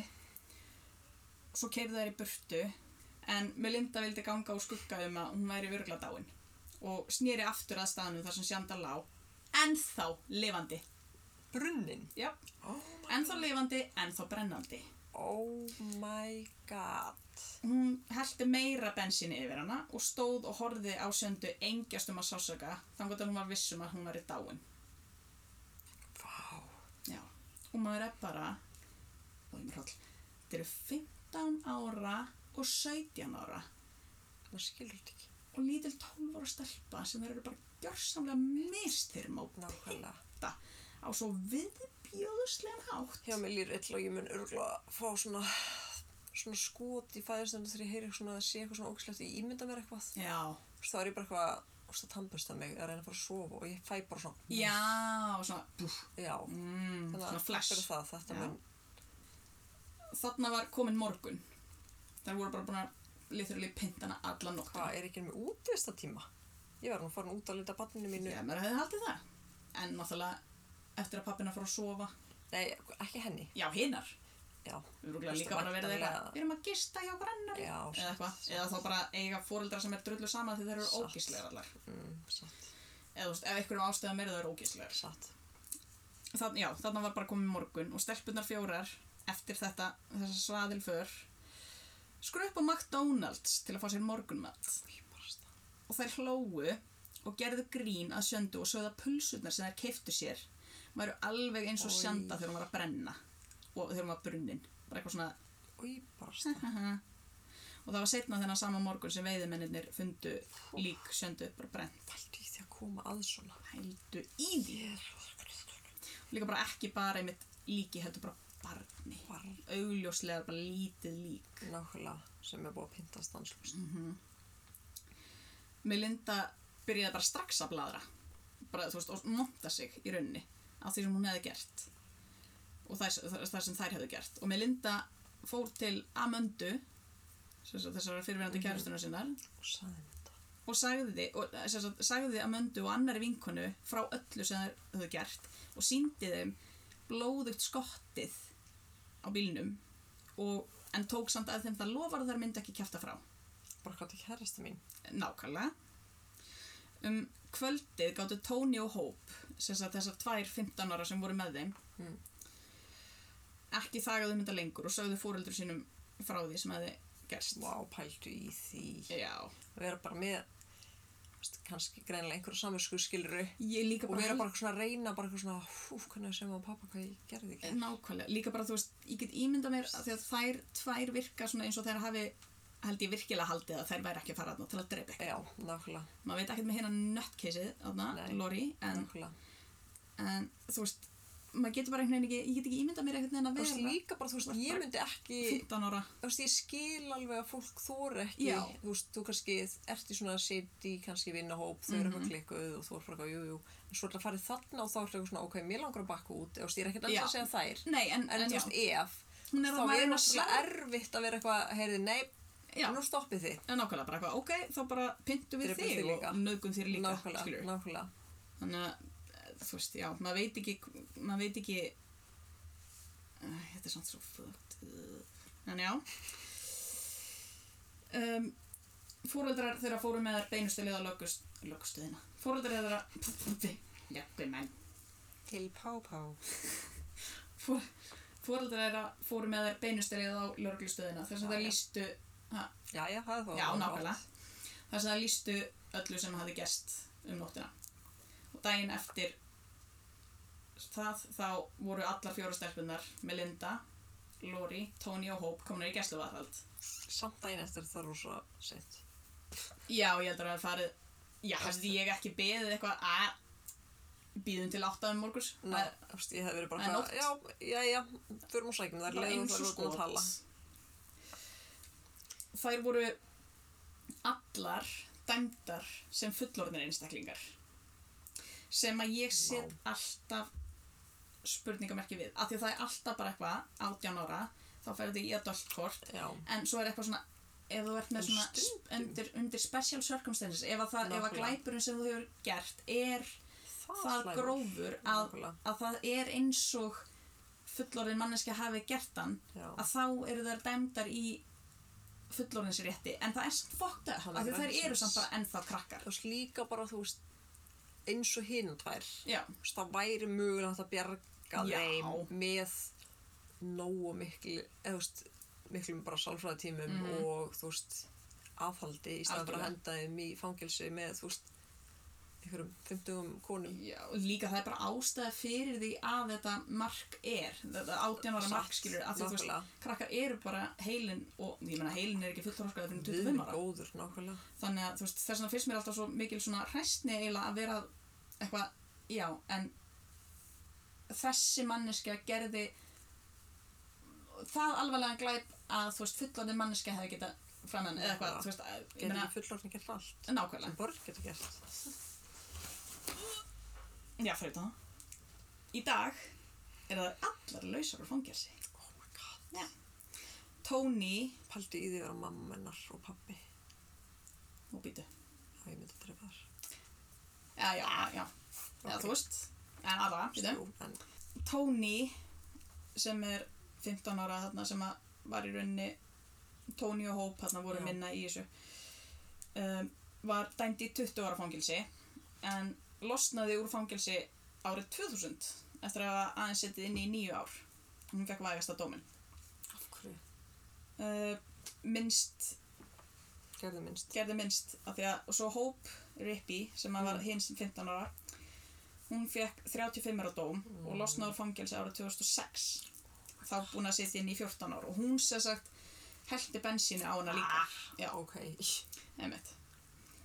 S1: Svo keirðu þær í burtu en Melinda vildi ganga úr skugga um að hún væri vörgla dáin og snýri aftur að staðnum þar sem Sjanda lá. Ennþá lifandi.
S2: Brunnin
S1: Já,
S2: Oh,
S1: ennþá lifandi, ennþá brennandi.
S2: oh my god
S1: Hún heldi meira bensíni yfir hana og stóð og horfði á söndu engjast um að sásaka þannig að hún var viss um að hún væri dáin.
S2: Vá
S1: Já, og maður er bara og ég mér hall þetta eru 15 ára og 17 ára
S2: Maður skilur þetta ekki
S1: og lítil 12 ára stelpa sem þeir eru bara gjörsamlega mistyrm á
S2: Nákvæmlega
S1: pynta á svo viðbjóðslegan hátt
S2: Hjá mér líður illa og ég mun örgulega fá svona, svona skot í fæðistunum þegar ég heyri svona að sé eitthvað svona ógislegt ég ímynda mér eitthvað.
S1: Já,
S2: Þú veist, þá er ég bara eitthvað úst að tampast að mig að reyna að fara að sofa og ég fæ bara svona.
S1: já, og svona búf,
S2: Já.
S1: mm,
S2: Þannig
S1: svona
S2: að takk fyrir
S1: flash
S2: það, þetta
S1: Já.
S2: mun.
S1: Þarna var komin morgun þar voru bara búin að literally pynta hana alla nóttina
S2: Hvað, er ekki með útivistartíma? Ég var nú farin út að lita barninu mínu.
S1: Já, maður hefði haldið það en náttúrulega eftir að pappina fór að sofa
S2: Nei, ekki henni.
S1: Já, hinnar
S2: Já.
S1: Við erum líka
S2: Veistu,
S1: bara verið eitthvað,
S2: væntanlega-
S1: við erum að gista hjá grannar
S2: Já,
S1: eða eitthvað, eða þá bara eiga fóreldra sem er drullu saman því þeir eru
S2: Satt.
S1: ógíslegar allar
S2: Mm, satt,
S1: eða þú veist, ef einhverjum ástæðum er þau eru ógíslegar
S2: satt.
S1: Þann, já, þannig var bara komið morgun og stelpunar fjórar eftir þetta, þessa svaðilför skru upp á McDonalds til að fá sér morgunmat
S2: Ég barst það.
S1: og þær hlógu og gerðu grín að sjöndu og sögðu að pulsurnar sem þær keiftu sér væru alveg eins og
S2: Oj.
S1: sjönda þegar hún var að brenna og þegar hún var brunnin bara eitthvað svona
S2: Og ég barst það.
S1: Aha. og og það var setna þennan sama morgun sem veiðimennir fundu lík sjöndu bara brent
S2: Pældu í því að koma að svona.
S1: hældu í því
S2: Ég er rosalega-
S1: líka bara ekki bara einmitt líki heldur bara barni
S2: Barn.
S1: augljóslega bara lítið lík
S2: Nákvæmlega sem er búið að pynta stanslust.
S1: Mm. Melinda byrjaði bara strax að bladra bara, þú veist, og monta sig í rauninni af því sem hún hefði gert og það, það sem þær hefði gert og Melinda fór til Amundu þessara fyrirverandi kærustunar sinnar
S2: Og sagði mér þetta.
S1: og sagði, og, eh, sem sagt, sagði Amundu og annari vinkonu frá öllu sem þær höfðu gert og síndi þeim blóðugt skottið á bílnum og, en tók samt að þeim það lofar að þær myndi ekki kjæfta frá
S2: Bara hvað þetta kærasta mín.
S1: Nákvæmlega. Um kvöldið gáttu Tony og Hope, sem sagt þessar tvær 15 ára sem voru með þeim,
S2: Mm.
S1: ekki þagaðu mynda lengur og sögðu fóreldur sínum frá því sem hefði gerst.
S2: Vá, pældu í því.
S1: Já.
S2: Að vera bara með, veist, kannski greinlega einhverju samvisku skiluru.
S1: Ég líka
S2: Og
S1: bara...
S2: vera bara eitthvað svona að reyna, bara eitthvað svona, hú, hvernig að segja maður pappa hvað ég gerði ekki.
S1: Nákvæmlega. Líka bara, þú veist, ég get ímyndað mér að því að þær tvær virka svona eins og þær hafi, held ég virkilega haldið að þær væri ekki að fara þarna til að dreipa ekki.
S2: Já, nákvæmlega,
S1: Maður veit ekkert með hérna nöttkeysið, þarna,
S2: Nei.
S1: Lori, en,
S2: nákvæmlega.
S1: en þú veist, maður getur bara einhvern veginn ekki, ég get ekki ímyndað mér einhvern veginn
S2: Þú
S1: að
S2: veist,
S1: vera
S2: líka bara, þú veist, ég myndi ekki,
S1: 15 ára.
S2: þú veist, ég skil alveg að fólk þóra ekki,
S1: Já.
S2: þú veist, þú kannski ert í svona city, kannski vinnahóp, þau eru
S1: Mhm.
S2: með klikkuð og þú er bara, eitthvað, jú, jú, en svo er það farið þarna og þá er það svona, ok, mér langar að bakka út, þú veist, ég er ekkert alveg að
S1: Já.
S2: segja þær,
S1: Nei, en,
S2: en þú veist, ef,
S1: Hún er
S2: þá
S1: þarna
S2: er
S1: eina
S2: náttúrulega erfitt að vera eitthvað, heyrði, nei,
S1: Já.
S2: nú stoppið þið,
S1: En nákvæmlega bara eitthvað, ok, þá bara pyntum við
S2: Drepum
S1: þig,
S2: þig líka.
S1: og nöðgum þér líka,
S2: nákvæmlega,
S1: skilur við.
S2: nákvæmlega,
S1: Þannig að, eh, þú veist, já, maður veit ekki, maður veit ekki, Æ, þetta er samt svo fucked. uh. En já, um, fóreldrar þeirra fóru með þær beinustu leið á löggust, löggustuðina. Fóreldrar þeirra, jökku menn,
S2: til pá-pá,
S1: fóreldrar þeirra fóru með þær beinustu leið á löggustuðina. Þess að
S2: Já,
S1: það
S2: já.
S1: lístu, ha,
S2: já, já, það er þá,
S1: Já,
S2: gott.
S1: nákvæmlega. Þess að það lístu öllu sem hafði gerst um nóttina. Og daginn eftir það þá voru allar fjóra stelpunar Melinda, Lori, Tony og Hope komin í gæsluvarðald.
S2: samt daginn eftir það er rosa sent,
S1: Já, ég heldur að það farið, já, hefði ég ekki beðið eitthvað að býðum til átta um morgus.
S2: Nei, þú veist, ég hef verið bara
S1: Það er
S2: eitthvað, já, já, já, förum og sækjum þær,
S1: Bara
S2: leiðum
S1: eins
S2: þær
S1: og
S2: út um að tala.
S1: Þær voru allar dæmdar sem fullorðnir einstaklingar sem að ég set alltaf spurningamerki við af því að það er alltaf bara eitthvað 18 ára þá ferðu í adult court
S2: Já,
S1: en svo er eitthvað svona ef þú ert með svona sp- undir, undir special circumstances ef að, það, ef að
S2: Nákvæmlega.
S1: glæpurinn sem þú hefur gert er
S2: það,
S1: það
S2: slæmur.
S1: grófur að,
S2: Nákvæmlega.
S1: að það er eins og fullorðin manneski hafi gert hann
S2: Já.
S1: að þá eru þær dæmdar í fullorðinsrétti en það er samt fokta
S2: Það
S1: af því
S2: er
S1: þær
S2: rannsókn.
S1: eru samt bara ennþá krakkar
S2: Þú veist, líka bara, þú veist, eins og hinn tvær, þú
S1: já,
S2: veist, það væri mögulegt að bjarga
S1: Já.
S2: þeim með nógu miklu, eða þú veist, miklum bara sálfræðatímum og, þú veist, aðhaldi í staðan fyrir að henda þeim í fangelsi með, þú veist, einhverjum 50 konum.
S1: já, og líka það er bara ástæða fyrir því að þetta mark er þetta 18 ára
S2: Satt,
S1: mark skilur af því þú
S2: nákvæmlega.
S1: veist, krakkar eru bara heilin og ég meina heilin er ekki sko, fullorðskar fyrir 25 ára
S2: góður, nákvæmlega.
S1: þannig að þú veist, þess vegna finnst mér alltaf svo mikil svona hræstni eiginlega að vera eitthvað, já, en þessi manneskja gerði það alvarlega glæp að þú veist, fullandi manneskja hefði geta framann eða eitthvað,
S2: Já.
S1: þú veist, að- ég
S2: Getur
S1: meina,
S2: ekki fullorðin gert allt. sem
S1: nákvæmlega
S2: börn getur gert.
S1: já, fyrir það í dag eru það allar lausar úr fangelsi
S2: Oh my god.
S1: já. Tony
S2: Paldi í því að vera mamma hennar og pappi.
S1: og býtu,
S2: Já, ég myndi að drepa þar.
S1: já, já, já, já.
S2: Ok.
S1: Okay. þú veist, en aðra, býtu
S2: Jú, en
S1: Tony sem er 15 ára þarna sem að var í rauninni Tony og Hope þarna voru
S2: Já.
S1: minna í þessu um, var dæmd í 20 ára fangilsi en losnaði úr fangilsi árið 2000 eftir að hafa aðeins setið inn í nýju ár hún fekk vægasta dómin
S2: af hverju?
S1: uh, minnst,
S2: Gerðu minnst.
S1: gerði minnst af því að og svo Hope Rippy sem að var
S2: Mm.
S1: hins 15 ára hún fekk 35 ára dóm og losnaði úr fangilsi árið 2006 þá búin að setja inn í 14 ára og hún sem sagt hellti bensínu á hana líka. Já,
S2: ok.
S1: einmitt.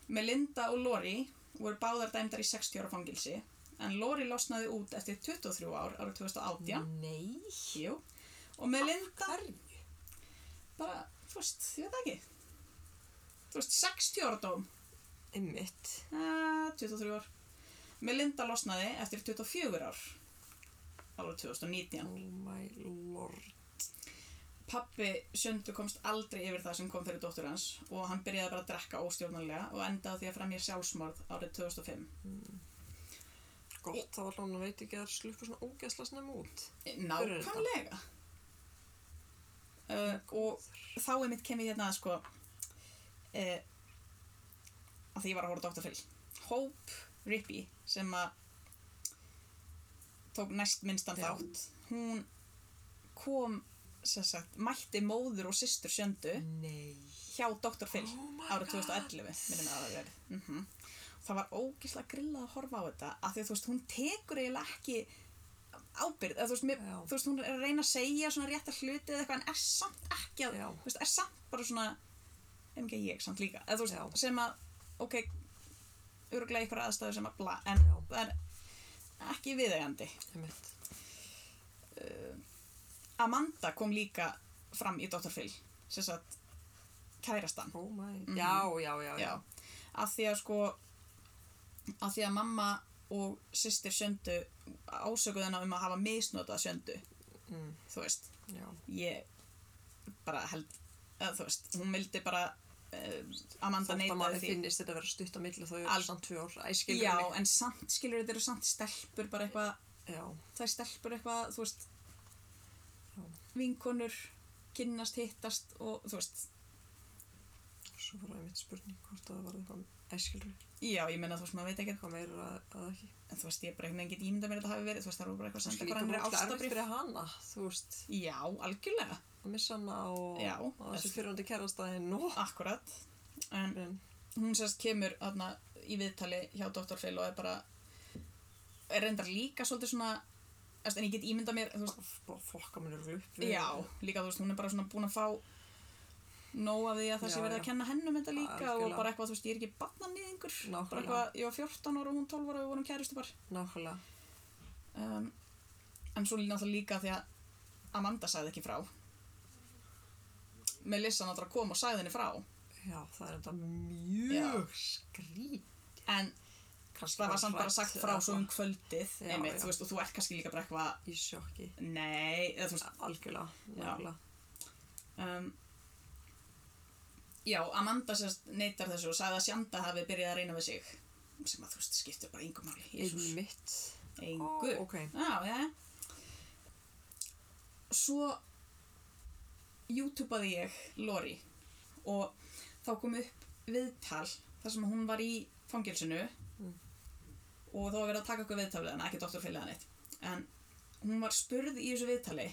S1: Melinda og Lori voru báðar dæmdar í 60 ára fangilsi en Lori losnaði út eftir 23 ár árið
S2: Mm.
S1: 2018.
S2: Nei.
S1: Jú. Og Melinda
S2: Hverju?
S1: bara, þú veist, ég veit það ekki. Þú veist, 60 ára dóm.
S2: Einmitt.
S1: Eh, 23 ár. Melinda losnaði eftir 24 ár árið 2019.
S2: Oh my lord.
S1: Pappi Söndu komst aldrei yfir það sem kom fyrir dóttur hans og hann byrjaði bara að drekka óstjórnarlega og endaði á því að fremja sjálfsmorð árið 2005.
S2: Gott, þá allan hann veit ekki að það sluppu svona ógæsla snemma út.
S1: Nákvæmlega. Uh, og þá er mitt kemur hérna að sko uh, að því ég var að horfa á Dr. Phil Hope Rippey sem að tók næst minnstan
S2: Já.
S1: þátt hún kom sem sagt, mætti móður og systur sjöndu
S2: Nei.
S1: hjá Dr. Phil
S2: Oh my
S1: árið
S2: God.
S1: 2011 minnum að það verið mm það var ógislega grillað að horfa á þetta að því þú veist, hún tekur eiginlega ekki ábyrgð, eða, þú, veist, mér,
S2: Já.
S1: þú veist, hún er að reyna að segja svona rétta hluti eða eitthvað en er samt ekki að,
S2: Já.
S1: þú veist, er samt bara svona en ekki ég samt líka, eða þú veist,
S2: Já.
S1: sem að ok, öruglega ykkur aðstæður sem að bla, en
S2: Já.
S1: það er ekki viðegandi
S2: Einmitt.
S1: Amanda kom líka fram í Dr. Phil sem sagt, kærastan
S2: Oh my. Já, já, já, já.
S1: Mhm. Já, af því að sko af því að mamma og systir söndu ásökuðu hennar um að hafa misnotað söndu
S2: Mm,
S1: þú veist,
S2: já.
S1: ég bara held eða, þú veist, hún vildi bara uh, Amanda
S2: Þótt að manni
S1: neitaði því
S2: finnist þetta að vera stutt á milli þá er
S1: Al-
S2: þetta samt tvö ár. Æ, skilur
S1: Já,
S2: mig.
S1: en samt, skilur þetta eru samt stelpur bara eitthvað,
S2: Já.
S1: það er stelpur eitthvað þú veist
S2: Já.
S1: vinkonur, kynnast, hittast og þú veist,
S2: Svo var einmitt spurning hvort það var eitthvað æskilur,
S1: já, ég meina þú veist, maður veit ekki
S2: eitthvað meira að, að ekki.
S1: en þú veist, ég bara einhvern veginn get ímynda mér að þetta hafi verið þú veist, það eru bara eitthvað að senda
S2: Líka
S1: hvernig
S2: bara erfitt
S1: ástabrif
S2: fyrir hana, þú veist,
S1: Já, algjörlega,
S2: að missa hana og,
S1: Já,
S2: og þessi
S1: eftir-
S2: fyrirhandi kærastæðin og...
S1: akkurat En
S2: En,
S1: hún sérst kemur þarna, í viðtali hjá Dr. Phil og er bara er reyndar líka svolítið svona þú veist, en ég get ímyndað mér þú veist,
S2: bara fokka mér eru upp
S1: Já, líka þú veist, hún er bara svona búin að fá nóg af því að það
S2: Já,
S1: sé verið
S2: já.
S1: að kenna hennum þetta líka og
S2: Algjörlega.
S1: bara eitthvað, þú veist, ég er ekki barnanýðingur bara
S2: Nákvæmlega.
S1: eitthvað, ég var 14 ára og hún 12 ára og við vorum kæristu bara
S2: Nákvæmlega.
S1: um, en svo náttúrulega líka því að Amanda sagði ekki frá Melissa náttúrulega kom og sagði henni frá
S2: Já, það er þetta mjög skrít.
S1: en
S2: Kannski
S1: það var samt bara
S2: hrædd
S1: sagt frá
S2: eða
S1: svo um kvöldið
S2: Já,
S1: einmitt,
S2: já.
S1: þú veist, og þú ert kannski líka bara eitthvað
S2: Í sjokki.
S1: nei, eða þú veist
S2: Algjörlega,
S1: Já.
S2: nákvæmlega.
S1: um, já, Amanda sérst neytar þessu og sagði að Sjanda hafi byrjað að reyna við sig sem að þú veist, skiptir bara engum máli Jesús,
S2: Einmitt.
S1: engu
S2: Ó, ok.
S1: já, já svo youtube ég Lori og þá kom upp viðtal þar sem hún var í fangilsinu og þá var verið að taka okkur viðtal við hana, ekki doktor fyrir hann eitt en hún var spurð í þessu viðtali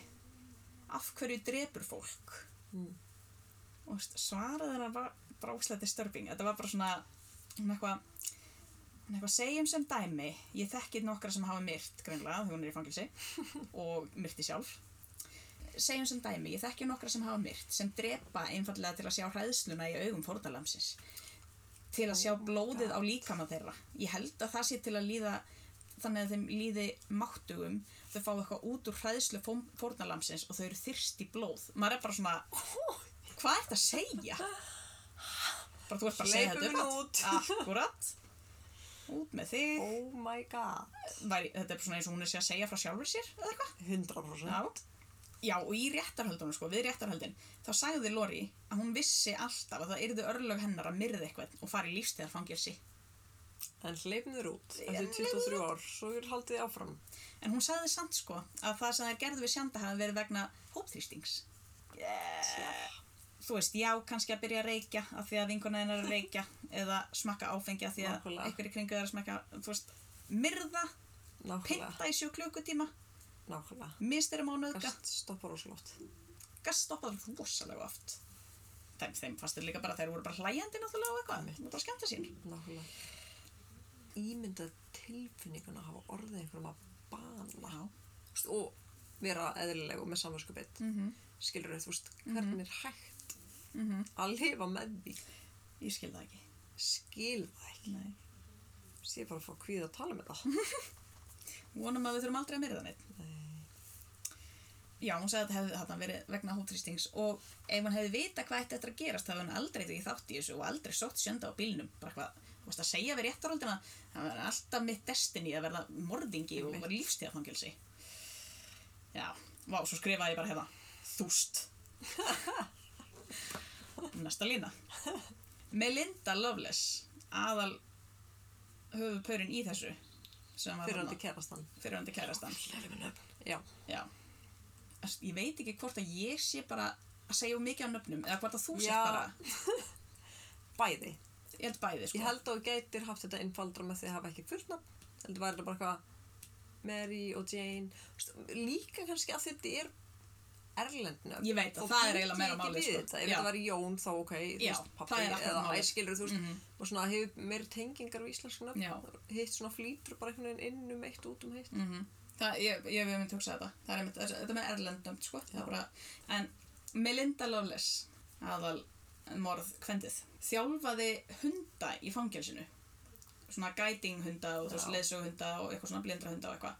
S1: af hverju drepur fólk
S2: Mm.
S1: og veist, svaraði hennar var bara óslega disturbing þetta var bara svona hún eitthvað hún eitthvað Sko, segjum sem dæmi ég þekki nokkra sem hafa myrt greinlega því hún er í fangilsi og myrti sjálf segjum sem dæmi, ég þekki nokkra sem hafa myrt sem drepa einfallega til að sjá hræðsluna í augum fórnalamsins til að
S2: Oh
S1: sjá blóðið á líkama þeirra ég held að það sé til að líða þannig að þeim líði máttugum þau fá eitthvað út úr hræðslu fó- fórnalamsins og þau eru þyrst í blóð maður er bara svona hvað ert að segja? bara þú ert bara að segja
S2: Hleypum
S1: þetta
S2: út.
S1: akkurat út með þig
S2: Oh my god.
S1: Væri, þetta er svona eins og hún er sér að segja frá sjálfur sér eða eitthvað
S2: 100%.
S1: Já. Já, og í réttarhöldunum sko, við réttarhöldin, þá sagði Lori að hún vissi alltaf að það yrðu örlög hennar að myrða eitthvað og fara í lífstíðar fangilsi.
S2: En hleypum þér út eftir 23 ár, svo er haldið þið áfram.
S1: En hún sagði samt sko að það sem þær gerðu við sjanda hafi verið vegna hópþrýstings. Þú veist, já, kannski að byrja að reykja af því að vinkona hennar er að reykja eða smakka áfengi af því að
S2: Nákvæmlega.
S1: einhver í kringu þeirra smakka, þú veist, myrða,
S2: Nákvæmlega,
S1: pinta í sjö klukkutíma,
S2: nákvæmlega.
S1: misturum á nöðgat.
S2: Gast stoppar og slott.
S1: gastoppað rosalega oft þeim, þeim fannst þeir líka bara þeir voru bara hlæjandi náttúrulega og eitthvað, þeir voru bara að skemmta sín
S2: Nákvæmlega. Ímyndað tilfinningun að hafa orðið einhverjum að bana.
S1: Já,
S2: Þú
S1: Mhm,
S2: veist, Og vera eðlileg og með samvöskupið. Mm -hmm. Skilur þau, þú veist, hvernig er hægt að lifa með því
S1: Ég skil það ekki.
S2: skil það ekki
S1: Nei.
S2: sé bara að fá kvíða að tala með það
S1: Vonum að við þurfum aldrei að myrða neitt. Já, hún sagði að þetta hefði þarna verið vegna hóttrýstings og ef hann hefði vita hvað þetta eftir að gerast þá hefði hann aldrei tekið þátt í þessu og aldrei sótt sjönda á bílnum. Bara hvað, þú veist að segja við réttarhaldina, það verður alltaf mitt destiny að verða morðingi og verða lífstíðafangelsi. Já, vá, svo skrifaði ég bara hérna, þúst. Næsta lína. Melinda Loveless, aðal höfupaurin í þessu. sem var
S2: fyrir að
S1: þarna-
S2: þið kærast hann
S1: fyrrandi kærastan
S2: já,
S1: já Þess- ég veit ekki hvort að ég sé bara að segja um mikið á nöfnum eða hvort að þú sé
S2: Já.
S1: bara
S2: bæði
S1: ég held bæði sko
S2: ég held að þú gætir haft þetta innfaldra með því að hafa ekki fullnafn heldur væri þetta bara eitthvað Mary og Jane Vist, líka kannski að þetta er erlendnöfn
S1: Ég veit að
S2: Þá
S1: það er
S2: bjóst
S1: eiginlega meira
S2: ég ekki
S1: máli,
S2: við
S1: sko.
S2: þetta. ef
S1: Já.
S2: þetta væri Jón þá ok þú
S1: Já,
S2: veist,
S1: það er
S2: pappi
S1: akkurat
S2: eða
S1: máli.
S2: æskilur þú veist og svona hefur meiri tengingar við íslensk nöfn
S1: Já.
S2: hitt svona flýtur bara einhvern veginn inn um eitt út um hitt
S1: mm það, ég, ég hef einmitt hugsað þetta það er einmitt, þess- þetta er með erlendum sko Það er bara, en Melinda Loveless aðal morð kvendið þjálfaði hunda í fangelsinu svona guiding hunda og þú veist
S2: Já.
S1: leðsöguhunda og eitthvað svona blindra hunda og eitthvað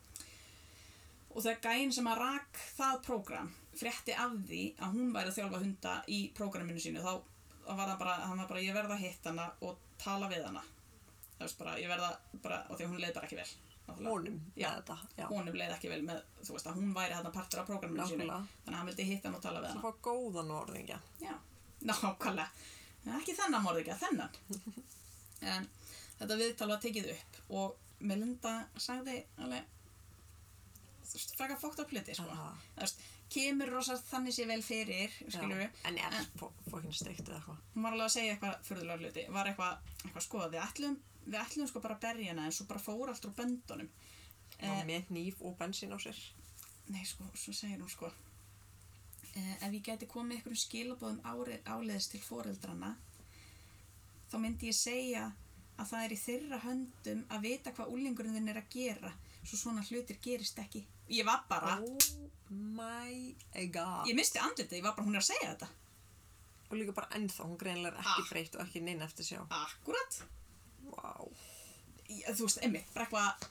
S1: og þegar gæinn sem að rak það prógram frétti af því að hún væri að þjálfa hunda í prógraminu sínu þá þá var það bara, hann var bara ég verða að hitta hana og tala við hana það veist bara, ég verða bara, og því að hún leið bara ekki vel náttúrulega
S2: honum
S1: Já.
S2: með þetta já.
S1: honum leið ekki vel með, þú veist að hún væri þarna partur af prógraminu sínu
S2: Nákvæmlega.
S1: þannig að hann vildi hitta hann og tala við
S2: að
S1: hann
S2: fá góðan orðingja
S1: já, nákvæmlega En ekki þennan morðingja, þennan en þetta viðtal var tekið upp og Melinda sagði alveg þú veist, frækka fókt á pliti sko.
S2: Aha.
S1: Þú veist, kemur rosa þannig sé vel fyrir skilur
S2: Já.
S1: við,
S2: en er fokkin steikt eða eitthvað
S1: hún var alveg að segja eitthvað furðulega hluti var eitthvað, eitthvað sko, við ætlum við ætlum sko bara að berja hana en svo bara fór allt úr böndunum
S2: eh. með nýf og bensín á sér
S1: Nei, sko, svo segir hún sko eh, Ef ég gæti komið ykkur skilabóðum ári, áleiðis til foreldrana þá myndi ég segja að það er í þeirra höndum að vita hvað úlingurinn þinn er að gera svo svona hlutir gerist ekki Ég var bara,
S2: oh my god
S1: ég misti andlitið, ég var bara hún er að segja þetta
S2: og líka bara ennþá, hún greinlega er ekki
S1: Ah.
S2: breytt og ekki neina eftir sjá
S1: Akkurat
S2: wow.
S1: Ég- Þú veist, emmi, bara eitthvað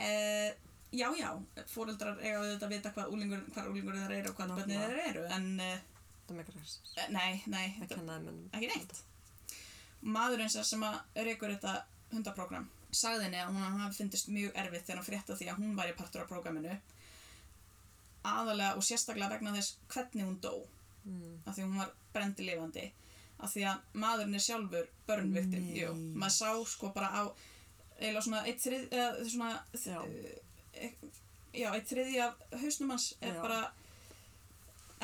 S1: eh, Já, já, foreldrar eiga auðvitað að vita hvað úlingurinn, hvað úlingurinn þeir eru og hvað bönnið þeir eru en, eh,
S2: það meikar ekki sens.
S1: nei, nei
S2: það kennaði mönnum
S1: ekki neitt maðurinn sem- sem að reykur þetta hundaprógram sagði henni að hún hafi fyndist mjög erfitt þegar hann frétta því að hún væri partur af prógraminu aðalega og sérstaklega vegna þess hvernig hún dó
S2: Mm.
S1: af því hún var brendi lifandi af því að maðurinn er sjálfur börnviktin
S2: Nei.
S1: jú, maður sá sko bara á eiginlega svona eitt þrið eða svona
S2: Já.
S1: eh, já, eitt þriði af hausnum hans er
S2: Já.
S1: bara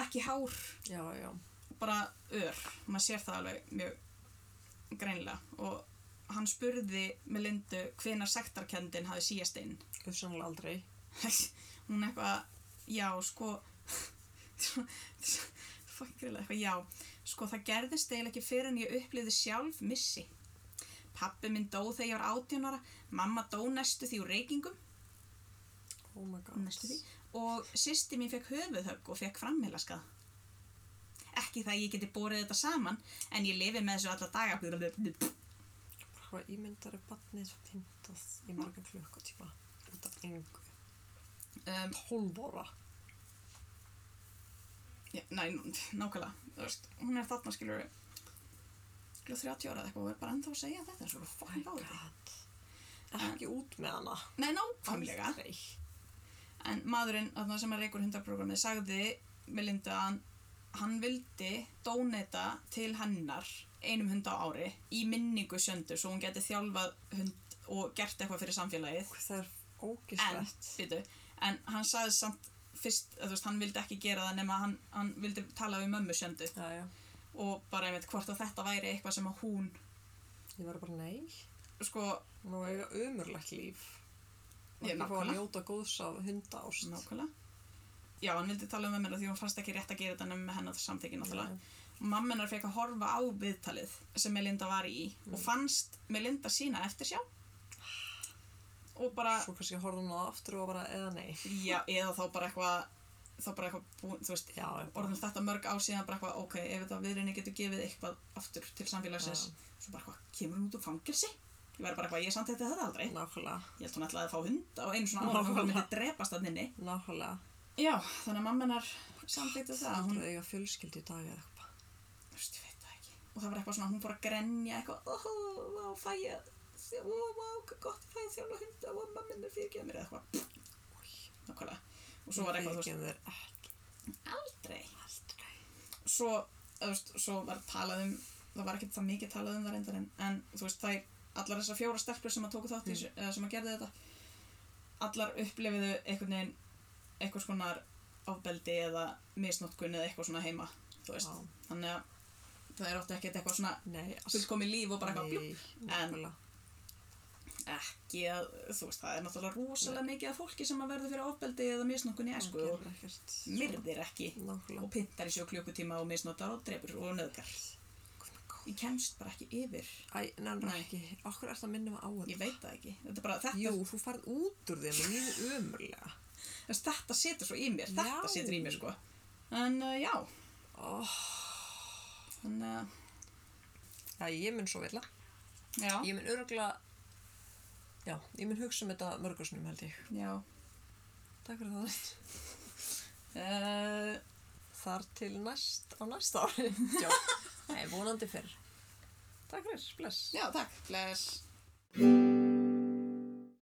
S1: ekki hár
S2: já, já,
S1: bara ör maður sér það alveg mjög greinlega og hann spurði með lindu hvenar sektarkendin hafi síðast inn
S2: hugsanlega aldrei
S1: hún eitthvað já sko fangrilega eitthvað já sko það gerðist eiginlega ekki fyrir en ég upplifði sjálf missi pappi minn dó þegar ég var 18 ára mamma dó næstu því úr reykingum
S2: oh my god
S1: næstu því og sýsti mín fekk höfuðhögg og fekk frammilaskað ekki það að ég geti borið þetta saman en ég lifi með þessu alla daga
S2: hvað ímyndar er barnið pintað í marga klukkutíma út af engu
S1: um,
S2: 12 óra
S1: já, næ, nú- nákvæmlega þú veist, hún er þarna skilur skilur 30 ára eða eitthvað og er bara ennþá að segja þetta svo fokkin gáði
S2: god ekki út með hana
S1: nei, nákvæmlega
S2: Aldrei.
S1: en maðurinn þarna sem er reykur hundarprogrammið sagði Melinda að hann, hann vildi dóneta til hennar einum hund á ári í minningu sjöndu svo hún geti þjálfað hund og gert eitthvað fyrir samfélagið
S2: það er
S1: en,
S2: ógislegt
S1: býtu, en hann sagði samt fyrst, að, þú veist, hann vildi ekki gera það nema hann, hann vildi tala við mömmu sjöndu
S2: já, já,
S1: og bara einmitt hvort að þetta væri eitthvað sem að hún
S2: ég var bara nei
S1: sko,
S2: hún var eiga umurlegt líf og
S1: Ég,
S2: ekki fá að
S1: nákvæmlega.
S2: njóta góðs af hunda ást
S1: nákvæmlega já, hann vildi tala um mömmuna því hún fannst ekki rétt að gera þetta nema með hennar samþykki náttúrulega mammenar fekk að horfa á viðtalið sem Melinda var í og fannst Melinda sína eftir sjá og bara
S2: svo kannski horfði hún á það aftur og bara eða nei
S1: já, eða þá bara eitthvað þá bara eitthvað búin, þú veist,
S2: Já, já.
S1: orðum þetta mörg ár síðan bara eitthvað, ok, ef þetta viðrinni getur gefið eitthvað aftur til samfélagsins, svo bara eitthvað, kemur hún út úr fangelsi? Ég væri bara eitthvað, ég samt þetta þetta aldrei.
S2: nákvæmlega,
S1: Ég held hún ætlaði að fá hund á einu svona ára, hún myndi drepast að nynni.
S2: nákvæmlega.
S1: Já, þannig að mammenar samþýttu það, að
S2: Hún
S1: hún,
S2: er eiga fjölskyldi í dag eða eitthvað.
S1: þú veist, ég veit það ekki. Og það var eitthvað svona, hún fór að grenja eitthvað, ó, ó, fæ ég, ó, ó, gott, fæ ég þjálfa hund, ó, mammin er fyrirgeða mér eða eitthvað. Nákvæmlega. Og svo var eitthvað, þú
S2: Fyrirgefum þér ekki
S1: veist, aldrei.
S2: aldrei.
S1: svo, þú veist, svo var talað um það var ekkert það mikið talað um það reyndar en, en þú veist, þær, allar þessar fjóra stelpur sem að tóku þátt í, þessu, eða sem að gerði þetta allar upplifiðu einhvern veginn eitthvað skonar ofbeldi eða misnotkun eða eitthvað svona heima þú veist,
S2: Já.
S1: þannig að það er ótt ekkert eitthvað svona
S2: Nei, alls-
S1: fullkomi líf og bara eitthvað bljúpp
S2: Nei, nákvæmlega.
S1: ekki að, þú veist, það er náttúrulega rosalega mikið af fólki sem að verða fyrir ofbeldi eða misnotkun í esku
S2: Hún
S1: og
S2: gerir ekkert.
S1: myrðir ekki og
S2: Nákvæmlega.
S1: pintar í sjó klukkutíma og misnotar og drefur og nöðgar Ég kemst bara ekki yfir.
S2: Æ, nefnir
S1: Nei.
S2: ekki. Okkur er það að minna mig á
S1: Ég
S2: þetta?
S1: veit það ekki. Þetta, er bara, þetta,
S2: Jú, þú farð út úr þeim og líður ömurlega.
S1: þess, þetta setur svo í mér. Þetta
S2: Já.
S1: setur í mér, sko. En uh, já, eh,
S2: Oh,
S1: þannig að,
S2: já, ég mun svo vilja.
S1: já,
S2: Ég mun öruglega, já, ég mun hugsa um þetta mörgursunum held ég.
S1: já.
S2: Takk fyrir það.
S1: Uh,
S2: Þar til næst, á næsta ári. Já, nei, vonandi fyrr. Takk fyrir, bless.
S1: já, takk. Bless.
S3: Thank